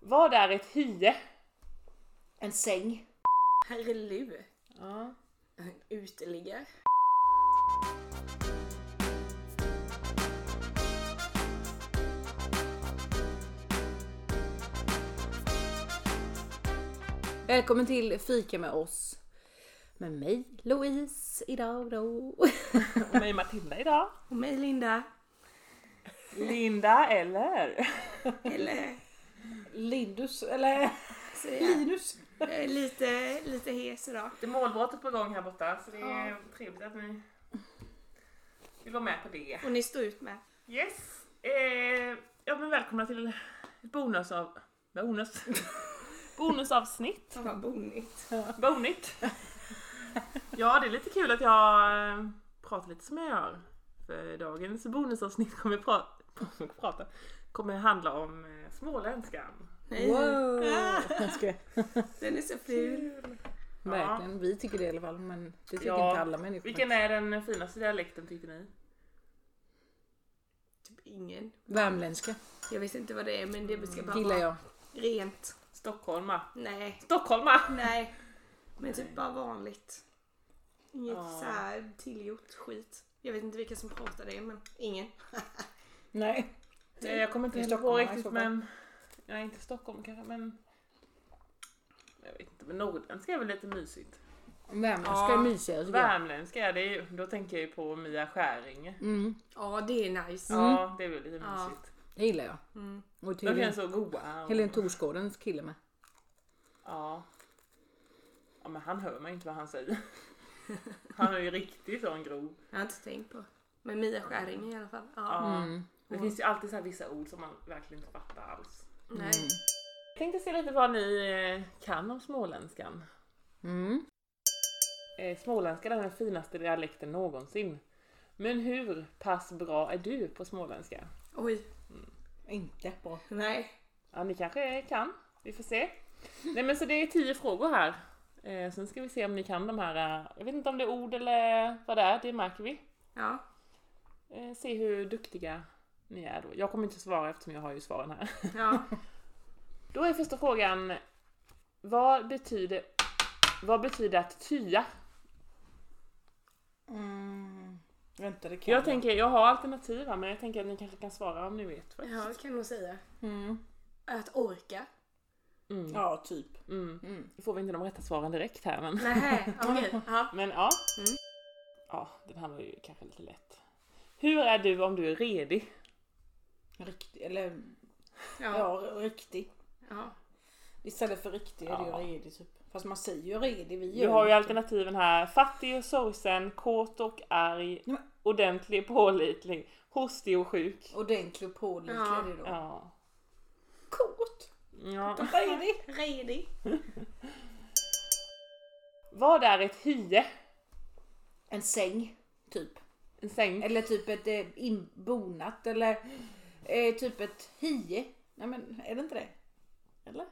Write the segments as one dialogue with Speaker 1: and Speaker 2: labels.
Speaker 1: Vad är ett hye?
Speaker 2: En säng.
Speaker 3: Herrelu.
Speaker 1: Ja.
Speaker 3: Uteliggare.
Speaker 2: Välkommen till Fika med oss. Med mig Louise idag då.
Speaker 1: Och mig Matilda idag.
Speaker 3: Och mig Linda.
Speaker 1: Linda eller?
Speaker 3: Eller
Speaker 1: Lindus eller?
Speaker 3: så är jag,
Speaker 1: Linus.
Speaker 3: jag är lite, lite hes idag.
Speaker 1: Det är målbrottet på gång här borta så det är trevligt att ni vill vara med på det.
Speaker 3: Och ni står ut med.
Speaker 1: Yes! Eh, ja men välkomna till ett bonusav... Bonus? Bonusavsnitt.
Speaker 3: Fan vad bonigt.
Speaker 1: Bonigt! Ja det är lite kul att jag eh, pratar lite som jag gör. För dagens bonusavsnitt kommer, pra- kommer, prata, kommer handla om eh, småländskan.
Speaker 3: Nej.
Speaker 2: Wow!
Speaker 3: Ah,
Speaker 2: Jag skojar.
Speaker 3: den är så ful.
Speaker 2: Verkligen, vi tycker det i alla fall men det tycker
Speaker 1: Ja.
Speaker 2: inte alla människor.
Speaker 1: Vilken är den finaste dialekten tycker ni?
Speaker 3: Typ ingen.
Speaker 2: Värmländska
Speaker 3: Jag vet inte vad det är men det ska bara
Speaker 2: gillar
Speaker 3: vara
Speaker 2: jag.
Speaker 3: rent.
Speaker 1: Stockholma.
Speaker 3: Nej.
Speaker 1: Stockholma!
Speaker 3: Nej. Men typ bara vanligt. Inget
Speaker 1: Ja.
Speaker 3: så här tillgjort skit. Jag vet inte vilka som pratar det men ingen.
Speaker 2: Nej.
Speaker 1: Eh, Jag kommer inte
Speaker 2: Det är
Speaker 1: heller på
Speaker 2: Stockholm, i
Speaker 1: riktigt
Speaker 2: så fall.
Speaker 1: men... Nej inte Stockholm kanske men... Jag vet inte men norrländska är väl lite mysigt.
Speaker 2: Värmländska
Speaker 1: Ja.
Speaker 2: är mysigare tycker jag.
Speaker 1: Värmländska det är ju, då tänker jag ju på Mia Skäringe.
Speaker 2: Mm,
Speaker 3: Ja det är nice.
Speaker 1: Ja det är väl lite
Speaker 3: Ja.
Speaker 1: mysigt.
Speaker 2: det gillar jag.
Speaker 3: Mm.
Speaker 2: Och
Speaker 1: De
Speaker 2: tydligen
Speaker 1: känns så goa. och-
Speaker 2: Helen Torsgårdens kille med.
Speaker 1: Ja. Ja men han hör man ju inte vad han säger. Han är ju riktigt sån grov.
Speaker 3: Jag har inte tänkt på. Men Mia Skäring i alla fall. Ja.
Speaker 1: Ja.
Speaker 2: Mm.
Speaker 1: Det finns ju alltid så här vissa ord som man verkligen inte fattar alls.
Speaker 3: Nej.
Speaker 1: Jag tänkte se lite vad ni eh, kan om småländskan.
Speaker 2: Mm.
Speaker 1: Eh, Småländska är den finaste dialekten någonsin. Men hur pass bra är du på småländska?
Speaker 3: Oj.
Speaker 2: Inte bra.
Speaker 3: Nej.
Speaker 1: Ja, ni kanske kan. Vi får se. Nej, men så det är tio frågor här. Eh, sen ska vi se om ni kan de här. Eh, jag vet inte om det är ord eller vad det är, det märker vi.
Speaker 3: Ja.
Speaker 1: Eh, se hur duktiga ni är då. Jag kommer inte svara eftersom jag har ju svaren här.
Speaker 3: Ja.
Speaker 1: Då är första frågan. Vad betyder, vad betyder att tya?
Speaker 2: Mm. Vänta det kan
Speaker 1: Jag tänker, jag har alternativ här, men jag tänker att ni kanske kan svara om ni vet. först.
Speaker 3: Jag kan nog säga.
Speaker 2: Mm.
Speaker 3: Att orka.
Speaker 1: Mm,
Speaker 2: Ja typ.
Speaker 1: mm.
Speaker 2: Mm.
Speaker 1: Nu får vi inte de rätta svaren direkt här men...
Speaker 3: Nej. okej. Ja.
Speaker 1: Men ja.
Speaker 3: Mm.
Speaker 1: Ja, den här var ju kanske lite lätt. Hur är du om du är redig?
Speaker 2: Riktig, eller
Speaker 3: Ja.
Speaker 2: ja riktig.
Speaker 3: ja.
Speaker 2: Istället för riktig är det ju
Speaker 1: Ja.
Speaker 2: redig typ. Fast man säger ju redig, vi
Speaker 1: Du har ju alternativen här. Fattig och sorgsen, kåt och arg,
Speaker 2: Nej, men-
Speaker 1: ordentlig och pålitlig, hostig och sjuk.
Speaker 2: Ordentlig och pålitlig
Speaker 3: Ja.
Speaker 2: är det då.
Speaker 1: Ja.
Speaker 2: Kort!
Speaker 1: ja.
Speaker 2: Redig!
Speaker 3: Redig.
Speaker 1: Vad är ett hye?
Speaker 2: En säng, typ.
Speaker 1: En säng?
Speaker 2: Eller typ ett eh, inbonat eller eh, typ ett hie. Nej men är det inte det? Eller?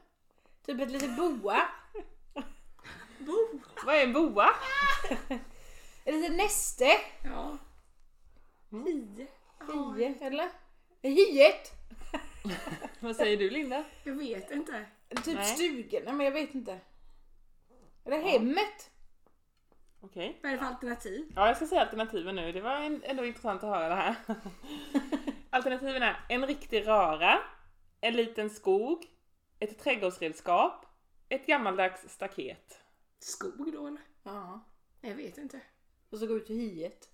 Speaker 2: Typ ett litet boa.
Speaker 3: Bo.
Speaker 1: Vad är en boa?
Speaker 2: Ett litet näste.
Speaker 3: Ja. Hi. Ja.
Speaker 2: Hie, eller? Hiet!
Speaker 1: Vad säger du Linda?
Speaker 3: Jag vet inte.
Speaker 2: Typ
Speaker 1: Nej.
Speaker 2: stugan, nej men jag vet inte. Eller hemmet.
Speaker 1: Okej.
Speaker 3: Vad är det för alternativ?
Speaker 1: Ja, jag ska säga alternativen nu. Det var en- ändå intressant att höra det här. Alternativen är en riktig röra, en liten skog, ett trädgårdsredskap, ett gammaldags staket.
Speaker 3: Skog då eller?
Speaker 2: Ja.
Speaker 3: Jag vet inte.
Speaker 2: Och så gå ut till hiet.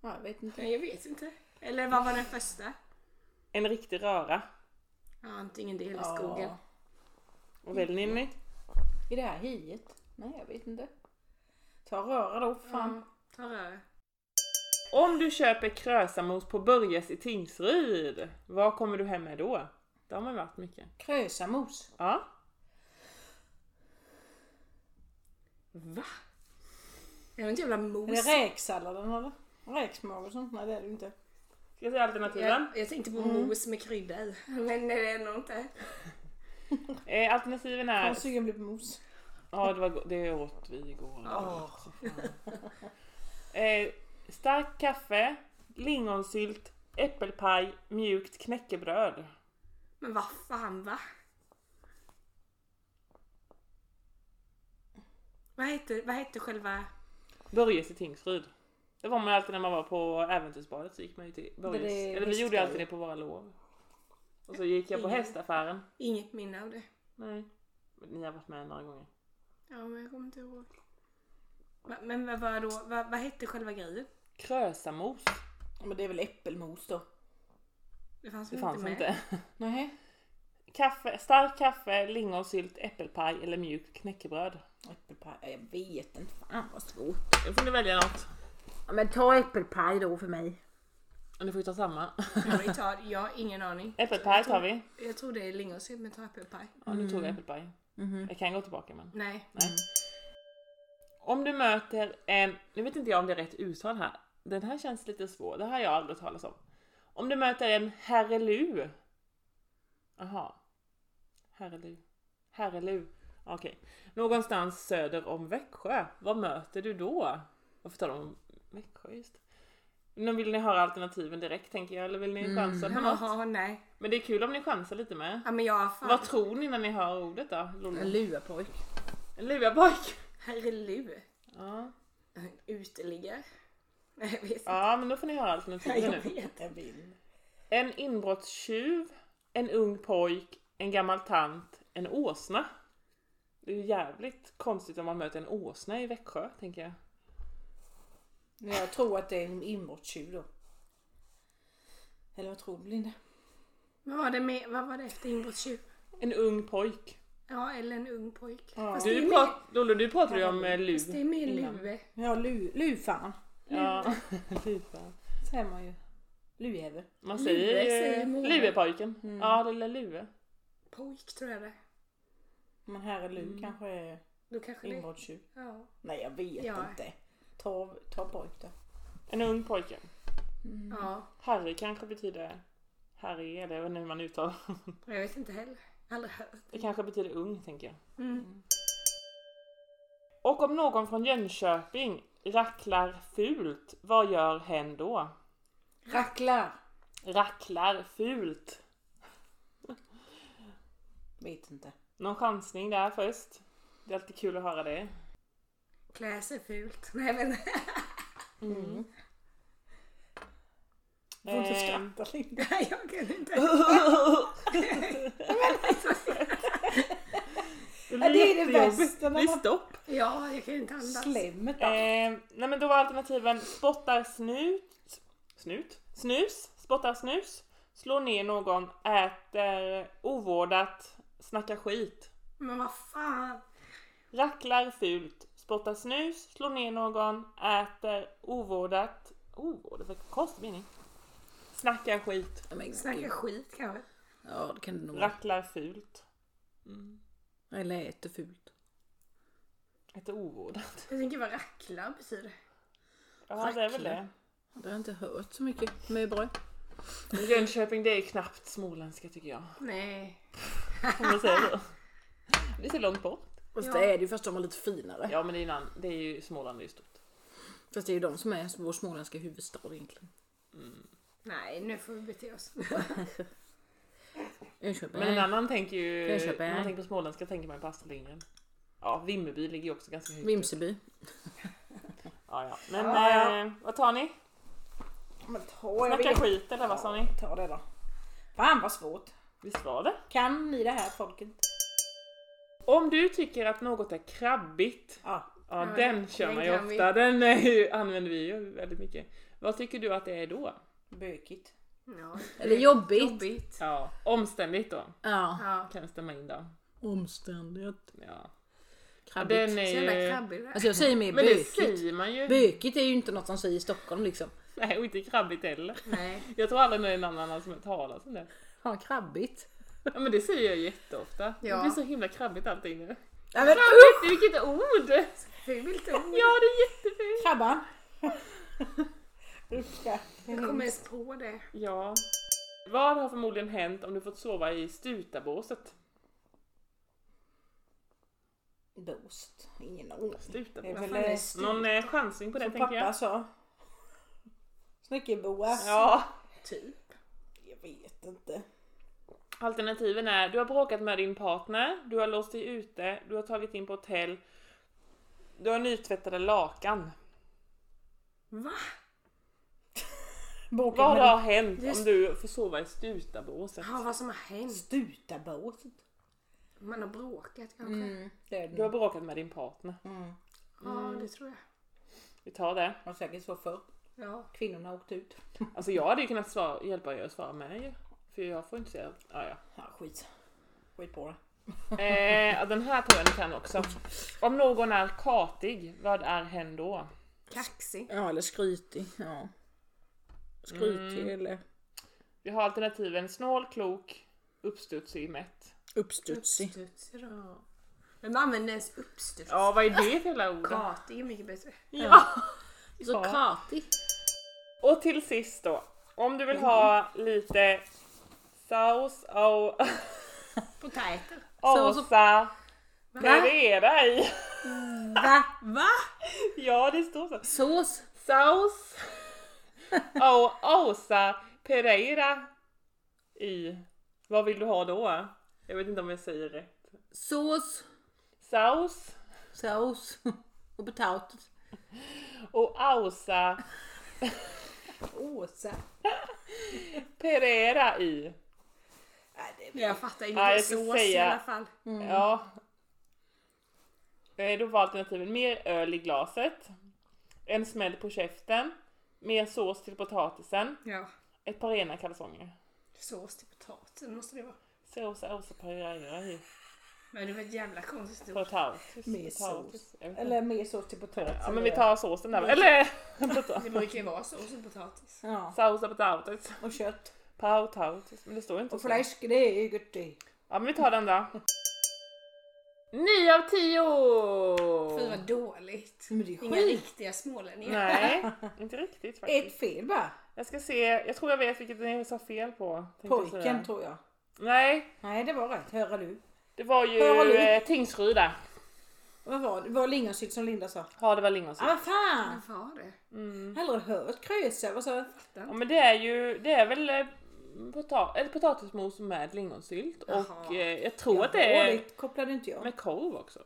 Speaker 2: Ja, jag vet inte.
Speaker 3: Nej, jag vet inte. Eller vad var den första?
Speaker 1: En riktig röra.
Speaker 3: Ja, antingen det eller skogen.
Speaker 2: Ja.
Speaker 1: Och väljer ni?
Speaker 2: I det här hiet? Nej, jag vet inte. Ta röra då, fan.
Speaker 3: Ja. Ta röra.
Speaker 1: Om du köper krösamos på Börjes i Tingsryd, vad kommer du hem med då? Det har man varit mycket.
Speaker 2: Krösamos.
Speaker 1: Ja. Va?
Speaker 3: Jag har inte jävla mos.
Speaker 2: Eller räksalladen eller? Räksmage och sånt? Nej, det är det ju inte.
Speaker 1: Ska jag säga alternativen?
Speaker 3: Jag, jag tänkte på mos med krydda i. Men det är nog inte.
Speaker 1: Eh, alternativen är...
Speaker 2: Jag är sugen på mos.
Speaker 1: Ja, det, var, go- det åt vi igår.
Speaker 2: Åh.
Speaker 1: Eh, stark kaffe, lingonsylt, äppelpaj, mjukt knäckebröd.
Speaker 3: Men vad fan va? Vad hette, vad hette själva...
Speaker 1: Börjes i Tingsryd. Det var man alltid när man var på äventyrsbadet så gick man ju till Börjes.
Speaker 2: Där det är
Speaker 1: Eller vi gjorde ju
Speaker 2: hästgrejer.
Speaker 1: alltid det på våra lov. Och så gick jag på
Speaker 3: Ingen.
Speaker 1: hästaffären.
Speaker 3: Inget minne av det.
Speaker 1: Nej. Men Ni har varit med några gånger.
Speaker 3: Ja, men jag kommer inte ihåg. Va- Men vad var då, vad, vad hette själva grejen?
Speaker 1: Krösamos.
Speaker 2: Men det är väl äppelmos då?
Speaker 3: Det fanns
Speaker 1: Det
Speaker 3: väl
Speaker 1: fanns
Speaker 3: inte med?
Speaker 1: inte.
Speaker 2: Nej.
Speaker 1: Kaffe, stark kaffe, lingonsylt, äppelpaj eller mjukt knäckebröd.
Speaker 2: Äppelpaj? Jag vet inte. Fan vad svårt.
Speaker 1: Nu får ni välja något.
Speaker 2: Men ta äppelpaj då för mig.
Speaker 1: Och ni får ju ta samma.
Speaker 3: Ja, vi tar, jag har ingen aning.
Speaker 1: Äppelpaj tar vi.
Speaker 3: Jag tror det är lingonsylt, men ta äppelpaj.
Speaker 1: Ja, nu tog jag äppelpaj. Jag kan gå tillbaka men.
Speaker 3: Nej.
Speaker 1: Nej. Om du möter en, nu vet inte jag om det är rätt uttal här, den här känns lite svår, det här har jag aldrig hört talas om. Om du möter en herrelu. Jaha. Herrelu. Herrelu. Okej. Någonstans söder om Växjö, vad möter du då? Varför tar de om Växjö just? Nu vill ni höra alternativen direkt tänker jag, eller vill ni chansa på något?
Speaker 3: Jaha, nej.
Speaker 1: Men det är kul om ni chansar lite med.
Speaker 3: Ja, men jag har fan...
Speaker 1: Vad tror ni när ni hör ordet då? Lollo?
Speaker 2: En luapojk.
Speaker 1: En lurapojk?
Speaker 3: Herrelu.
Speaker 1: Ja.
Speaker 3: En Uteliggare. Nej, jag vet inte.
Speaker 1: Ja, men då får ni höra
Speaker 3: Nej,
Speaker 1: alternativen
Speaker 3: jag
Speaker 1: nu.
Speaker 3: vet.
Speaker 2: Jag vill.
Speaker 1: En inbrottstjuv, en ung pojk, en gammal tant, en åsna. Det är ju jävligt konstigt om man möter en åsna i Växjö, tänker jag.
Speaker 2: Men jag tror att det är en inbrottstjuv då. Eller vad tror du Linda?
Speaker 3: Vad var det, med, vad var det efter inbrottstjuv?
Speaker 1: En ung pojk.
Speaker 3: Ja, eller en ung pojk. Fast det är
Speaker 1: Du,
Speaker 3: mer-
Speaker 1: prat, Lollo, du pratar ju om eh,
Speaker 3: Fast det
Speaker 1: luv.
Speaker 3: är mer
Speaker 1: innan.
Speaker 3: lue.
Speaker 2: Ja, lu, lufan.
Speaker 1: Ja, typ, va.
Speaker 2: Säger man ju. Lujävel.
Speaker 1: Man
Speaker 3: Lue
Speaker 1: säger
Speaker 3: säger Mm.
Speaker 1: ju
Speaker 3: många.
Speaker 1: luepojken. Ja, lilla lue.
Speaker 3: Pojk tror jag det.
Speaker 2: Men här är lu kanske är
Speaker 3: Då kanske det...
Speaker 2: inbrottstjuv.
Speaker 3: Ja.
Speaker 2: Nej, jag vet
Speaker 3: Ja.
Speaker 2: inte. Ta, ta pojk då.
Speaker 1: En ung pojke.
Speaker 2: Mm.
Speaker 3: ja.
Speaker 1: Harry kanske betyder Harry, eller jag vet inte hur man uttalar
Speaker 3: Jag vet inte heller. Aldrig hört.
Speaker 1: Det kanske betyder ung, tänker jag.
Speaker 3: Mm.
Speaker 1: Och om någon från Jönköping racklar fult, vad gör hen då?
Speaker 2: Racklar.
Speaker 1: Racklar fult.
Speaker 2: Vet inte.
Speaker 1: Någon chansning där först? Det är alltid kul att höra det.
Speaker 3: Klä sig fult. Nej, men...
Speaker 2: Mm.
Speaker 1: Mm.
Speaker 2: Du får inte
Speaker 1: Eh.
Speaker 2: skratta Linda.
Speaker 3: Nej, jag kan inte.
Speaker 2: Ja, det är det
Speaker 1: jättejobbigt.
Speaker 2: bästa när
Speaker 1: Det är
Speaker 2: man-
Speaker 1: stopp.
Speaker 3: Ja, jag kan inte andas.
Speaker 2: Slemmet då.
Speaker 1: Eh, nej men då var alternativen spottar snut, snut, snus, spottar snus, slår ner någon, äter ovårdat, snackar skit.
Speaker 3: Men vad fan.
Speaker 1: Racklar fult, spottar snus, slår ner någon, äter ovårdat. Ovårdat, vad konstig mening. Snackar skit,
Speaker 2: Ja, men
Speaker 3: Snacka
Speaker 2: gud.
Speaker 3: skit kanske.
Speaker 2: Ja, det kan det nog vara.
Speaker 1: racklar fult. Mm.
Speaker 2: Eller äter fult.
Speaker 1: Äter ovårdat.
Speaker 3: Jag tänker vad rackla betyder.
Speaker 1: Ja det är väl det.
Speaker 2: Racklar. Det har jag inte hört så mycket med bröd.
Speaker 1: Men Jönköping det är knappt småländska tycker jag.
Speaker 3: Nej.
Speaker 1: Om man säger så. Det är så långt bort.
Speaker 2: Och
Speaker 3: Ja.
Speaker 2: det är det ju fast de är lite finare.
Speaker 1: Ja men det är, en ann- det är ju Småland det är ju stort.
Speaker 2: Fast det är ju de som är vår småländska huvudstad egentligen.
Speaker 3: Nej, nu får vi bete oss.
Speaker 2: Jönköping.
Speaker 1: Men en annan tänker ju,
Speaker 2: Jönköping.
Speaker 1: när man tänker på småländska tänker man ju på Astrid Lindgren. Ja, Vimmerby ligger ju också ganska högt. upp.
Speaker 2: Vimseby.
Speaker 1: Ja, ja. Men
Speaker 2: Ja, ja.
Speaker 1: Eh, vad tar ni?
Speaker 2: Men ta,
Speaker 1: Snacka skit eller vad sa ni?
Speaker 2: Ta det då. Fan vad svårt.
Speaker 1: Visst var det?
Speaker 2: Kan ni det här folket?
Speaker 1: Om du tycker att något är krabbigt,
Speaker 2: Ja.
Speaker 1: ja
Speaker 3: Ja,
Speaker 1: den
Speaker 3: den-
Speaker 1: kör
Speaker 3: den
Speaker 1: man ju
Speaker 3: kan vi.
Speaker 1: ofta, den är ju, använder vi ju väldigt mycket. Vad tycker du att det är då?
Speaker 2: Bökigt.
Speaker 3: Ja.
Speaker 2: Eller jobbigt.
Speaker 3: Jobbigt.
Speaker 1: Ja, omständigt då
Speaker 2: Ja.
Speaker 3: Ja.
Speaker 1: kan det stämma in då.
Speaker 2: Omständigt.
Speaker 1: Ja. Ja,
Speaker 2: Krabbigt.
Speaker 1: Den
Speaker 3: Så jävla
Speaker 1: är ju...
Speaker 3: krabbig du är.
Speaker 2: Alltså jag säger mer
Speaker 1: Men det
Speaker 2: bökigt.
Speaker 1: säger man ju.
Speaker 2: Bökigt är ju inte något som säger i Stockholm liksom.
Speaker 1: Nej, och inte krabbigt heller.
Speaker 3: Nej.
Speaker 1: Jag tror aldrig det är någon annan som har hört talas om det.
Speaker 2: Ja, krabbigt.
Speaker 1: Ja men det säger jag jätteofta. Det
Speaker 3: Ja.
Speaker 1: blir så himla krabbigt allting nu.
Speaker 2: Ja, men,
Speaker 1: Krabbigt, vilket ord!
Speaker 3: Fult ord.
Speaker 1: Ja det är jättefint!
Speaker 2: Krabban! Ruska.
Speaker 3: Jag kommer ens på det.
Speaker 1: Ja. Vad har förmodligen hänt om du fått sova i stutabåset?
Speaker 2: Boost. Ingen aning. Det är
Speaker 1: Stutabåset.
Speaker 2: väl
Speaker 3: fan är
Speaker 2: eh,
Speaker 3: s-
Speaker 1: Någon eh, chansning på det
Speaker 2: som
Speaker 1: tänker
Speaker 2: pappa
Speaker 1: jag?
Speaker 2: sa. Snickerboas.
Speaker 1: Ja.
Speaker 3: Typ.
Speaker 2: Jag vet inte.
Speaker 1: Alternativen är du har bråkat med din partner, du har låst dig ute, du har tagit in på hotell, Du har nytvättade lakan.
Speaker 3: Va?
Speaker 2: Boken
Speaker 1: Vad
Speaker 2: med
Speaker 1: har hänt
Speaker 3: Just-
Speaker 1: om du får sova i stutabåset?
Speaker 3: Ja, vad som har hänt?
Speaker 2: Stutabåset.
Speaker 3: Man har bråkat kanske?
Speaker 2: Mm, det är
Speaker 1: Du har
Speaker 2: den.
Speaker 1: bråkat med din partner.
Speaker 2: Mm.
Speaker 3: Ja, det tror jag.
Speaker 1: Vi tar det.
Speaker 2: Det var säkert så förr.
Speaker 3: Ja.
Speaker 2: Kvinnorna åkte ut.
Speaker 1: Alltså jag hade ju kunnat svara, hjälpa er att svara med ju. För jag får inte säga... Ah, ja.
Speaker 2: Ja, skit. Skit på det.
Speaker 1: eh, ja, den här tror jag ni kan också. Om någon är katig, vad är hen då?
Speaker 3: Kaxig.
Speaker 2: Ja, eller skrytig. Ja. Skrytig eller
Speaker 1: Vi har alternativen snål, klok, uppstudsig, mätt.
Speaker 2: uppstudsig.
Speaker 3: Uppstudsig då. Men man använder ens uppstudsig.
Speaker 1: Ja, vad är det för jävla ord?
Speaker 3: Katig är mycket bättre.
Speaker 1: Ja.
Speaker 2: Så katig.
Speaker 1: Och till sist då. Om du vill ha lite saus och
Speaker 3: Potäter.
Speaker 2: Saus och-
Speaker 1: åsa
Speaker 3: Va?
Speaker 1: bereda i.
Speaker 2: Va?
Speaker 3: Va?
Speaker 1: Ja, det står så.
Speaker 2: Sås?
Speaker 1: Saus och åsa Pereira i. Vad vill du ha då? Jag vet inte om jag säger rätt.
Speaker 2: Sås?
Speaker 1: Saus
Speaker 2: Sås? Och potatis?
Speaker 1: och ausa
Speaker 2: Åsa.
Speaker 1: Pereira i.
Speaker 3: Jag fattar inte.
Speaker 1: Ja, jag skulle
Speaker 3: sås i
Speaker 1: säga-
Speaker 3: alla fall.
Speaker 2: Mm.
Speaker 1: Ja. Eh, Då var alternativen mer öl i glaset, en smäll på käften, mer sås till potatisen,
Speaker 3: Ja.
Speaker 1: ett par rena kalsonger.
Speaker 3: Sås till potatis måste det vara.
Speaker 1: Sås, åsa, pareja,
Speaker 3: Men det var ett jävla konstigt ord.
Speaker 1: potatis.
Speaker 2: Med
Speaker 1: potatis, jag vet inte.
Speaker 2: Eller mer sås till potatis.
Speaker 1: Ja men vi tar såsen där Eller! potatis.
Speaker 3: Det brukar ju vara sås och potatis.
Speaker 2: Ja,
Speaker 1: Sausa potatis.
Speaker 2: och kött.
Speaker 1: Potatis. Men det står inte
Speaker 2: Och
Speaker 1: så.
Speaker 2: fläsk, det är ju gött det.
Speaker 1: Ja men vi tar den då. 9 av 10!
Speaker 3: Fy vad dåligt.
Speaker 2: Men det är
Speaker 3: Inga
Speaker 2: skit.
Speaker 3: riktiga smålänningar.
Speaker 1: Nej, inte riktigt faktiskt.
Speaker 2: Ett fel bara.
Speaker 1: Jag ska se, jag tror jag vet vilket ni sa fel på. tänkte jag säga.
Speaker 2: Pojken tror jag.
Speaker 1: Nej,
Speaker 2: Nej, det var rätt. Höra du.
Speaker 1: det var ju
Speaker 2: Hör nu.
Speaker 1: eh, Tingsryda.
Speaker 2: Vad var det? Det var lingonsylt som Linda sa.
Speaker 1: Ja det var
Speaker 2: Ja,
Speaker 1: lingonsylt.
Speaker 2: vad fan!
Speaker 3: Vad var det?
Speaker 1: Mm.
Speaker 2: Aldrig hört krösa. Vad sa jag?
Speaker 1: Ja men det är ju, det är väl eh, pota- eller potatismos med lingonsylt och
Speaker 3: Jaha.
Speaker 1: eh, jag tror att det är
Speaker 2: Dåligt kopplade inte jag.
Speaker 1: med korv också.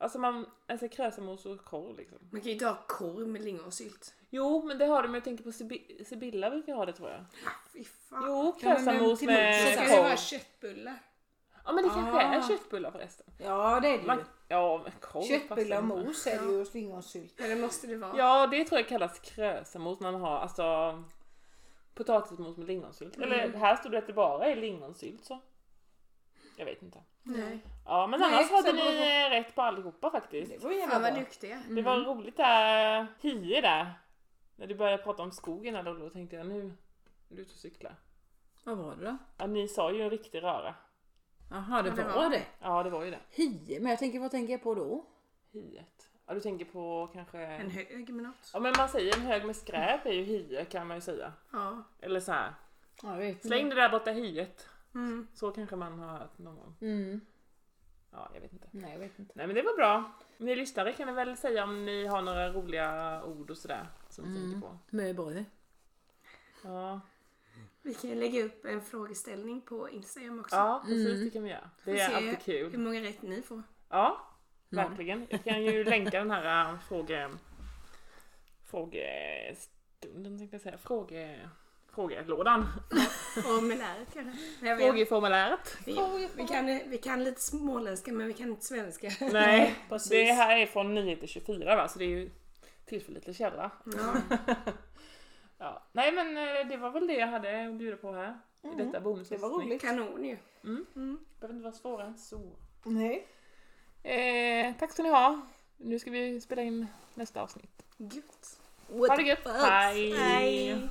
Speaker 1: Alltså man, alltså kräsemos och korv liksom.
Speaker 3: Man kan ju inte ha korv med lingonsylt.
Speaker 1: Jo, men det har de. Jag tänker på Sibi- Sibylla brukar ha det tror jag.
Speaker 3: Ah, fy fan.
Speaker 1: Jo,
Speaker 2: Ja, men den
Speaker 1: kräsamos
Speaker 2: till
Speaker 1: med
Speaker 2: lunch
Speaker 3: Så
Speaker 2: så
Speaker 3: ska det vara
Speaker 1: korv.
Speaker 3: köttbullar.
Speaker 1: Ja, men det kanske är
Speaker 2: Ah.
Speaker 1: köttbullar förresten.
Speaker 2: Ja, det är det
Speaker 1: Man,
Speaker 2: ju.
Speaker 1: ja, men korv
Speaker 2: Köttbullar och
Speaker 1: passar.
Speaker 2: mos är det ju och lingonsylt.
Speaker 3: Men det måste det vara.
Speaker 1: Ja, det tror jag kallas kräsamos när man har alltså potatismos med lingonsylt.
Speaker 2: Mm.
Speaker 1: Eller här stod det att det bara är lingonsylt så. Jag vet inte.
Speaker 3: Nej.
Speaker 1: Ja, men
Speaker 2: Nej,
Speaker 1: annars
Speaker 2: så
Speaker 1: hade
Speaker 2: det
Speaker 1: ni
Speaker 2: var-
Speaker 1: eh, rätt på allihopa faktiskt.
Speaker 2: Det var Mm. ju jävla
Speaker 3: Fan vad
Speaker 2: bra.
Speaker 3: duktiga.
Speaker 1: Det var roligt där, Hie där. När du började prata om skogen där, då, då tänkte jag nu är du ute och cyklar.
Speaker 2: Vad var det då?
Speaker 1: Ja, ni sa ju en riktig röra.
Speaker 2: Jaha, det
Speaker 3: Ja, det
Speaker 2: var
Speaker 3: var
Speaker 2: det.
Speaker 1: Ja, det var ju det.
Speaker 2: Hie, men jag tänker, vad tänker jag på då?
Speaker 1: Hiet. Ja, du tänker på kanske...
Speaker 3: En hög med något.
Speaker 1: Ja, men man säger en hög med skräp är ju hie kan man ju säga.
Speaker 3: Ja.
Speaker 1: Eller så här.
Speaker 2: Ja, jag vet
Speaker 1: Släng det där borta hiet.
Speaker 3: Mm.
Speaker 1: Så kanske man har hört någon gång.
Speaker 2: Mm.
Speaker 1: Ja, jag vet inte.
Speaker 2: Nej, jag vet inte.
Speaker 1: Nej, men det var bra. Ni lyssnare kan ni väl säga om ni har några roliga ord och sådär som ni tänker på.
Speaker 2: Med bröd.
Speaker 1: Ja,
Speaker 3: Vi kan ju lägga upp en frågeställning på Instagram också.
Speaker 1: ja precis det kan vi göra. Det är
Speaker 3: Får se
Speaker 1: alltid kul.
Speaker 3: Hur många rätt ni får.
Speaker 1: Ja, verkligen. Jag kan ju länka den här äh, fråge... Frågestunden tänkte jag säga. Fråge... Frågelådan.
Speaker 3: Formuläret kanske. Nej, jag vet inte.
Speaker 1: Frågeformuläret.
Speaker 3: Vi kan, vi kan lite småländska men vi kan inte svenska.
Speaker 1: Nej,
Speaker 2: Precis.
Speaker 1: det här är från 9 till 24 va, så det är ju tillförlitlig källa.
Speaker 3: Ja.
Speaker 1: Ja. Nej men eh, det var väl det jag hade att bjuda på här. I detta
Speaker 2: Det
Speaker 1: bonusavsnitt.
Speaker 2: var roligt.
Speaker 3: Kanon ju.
Speaker 1: behöver inte vara svårare än så.
Speaker 2: Nej.
Speaker 1: Eh, tack ska ni ha. Nu ska vi spela in nästa avsnitt.
Speaker 3: Gött.
Speaker 1: Ha det gött. Hej.
Speaker 3: Hej.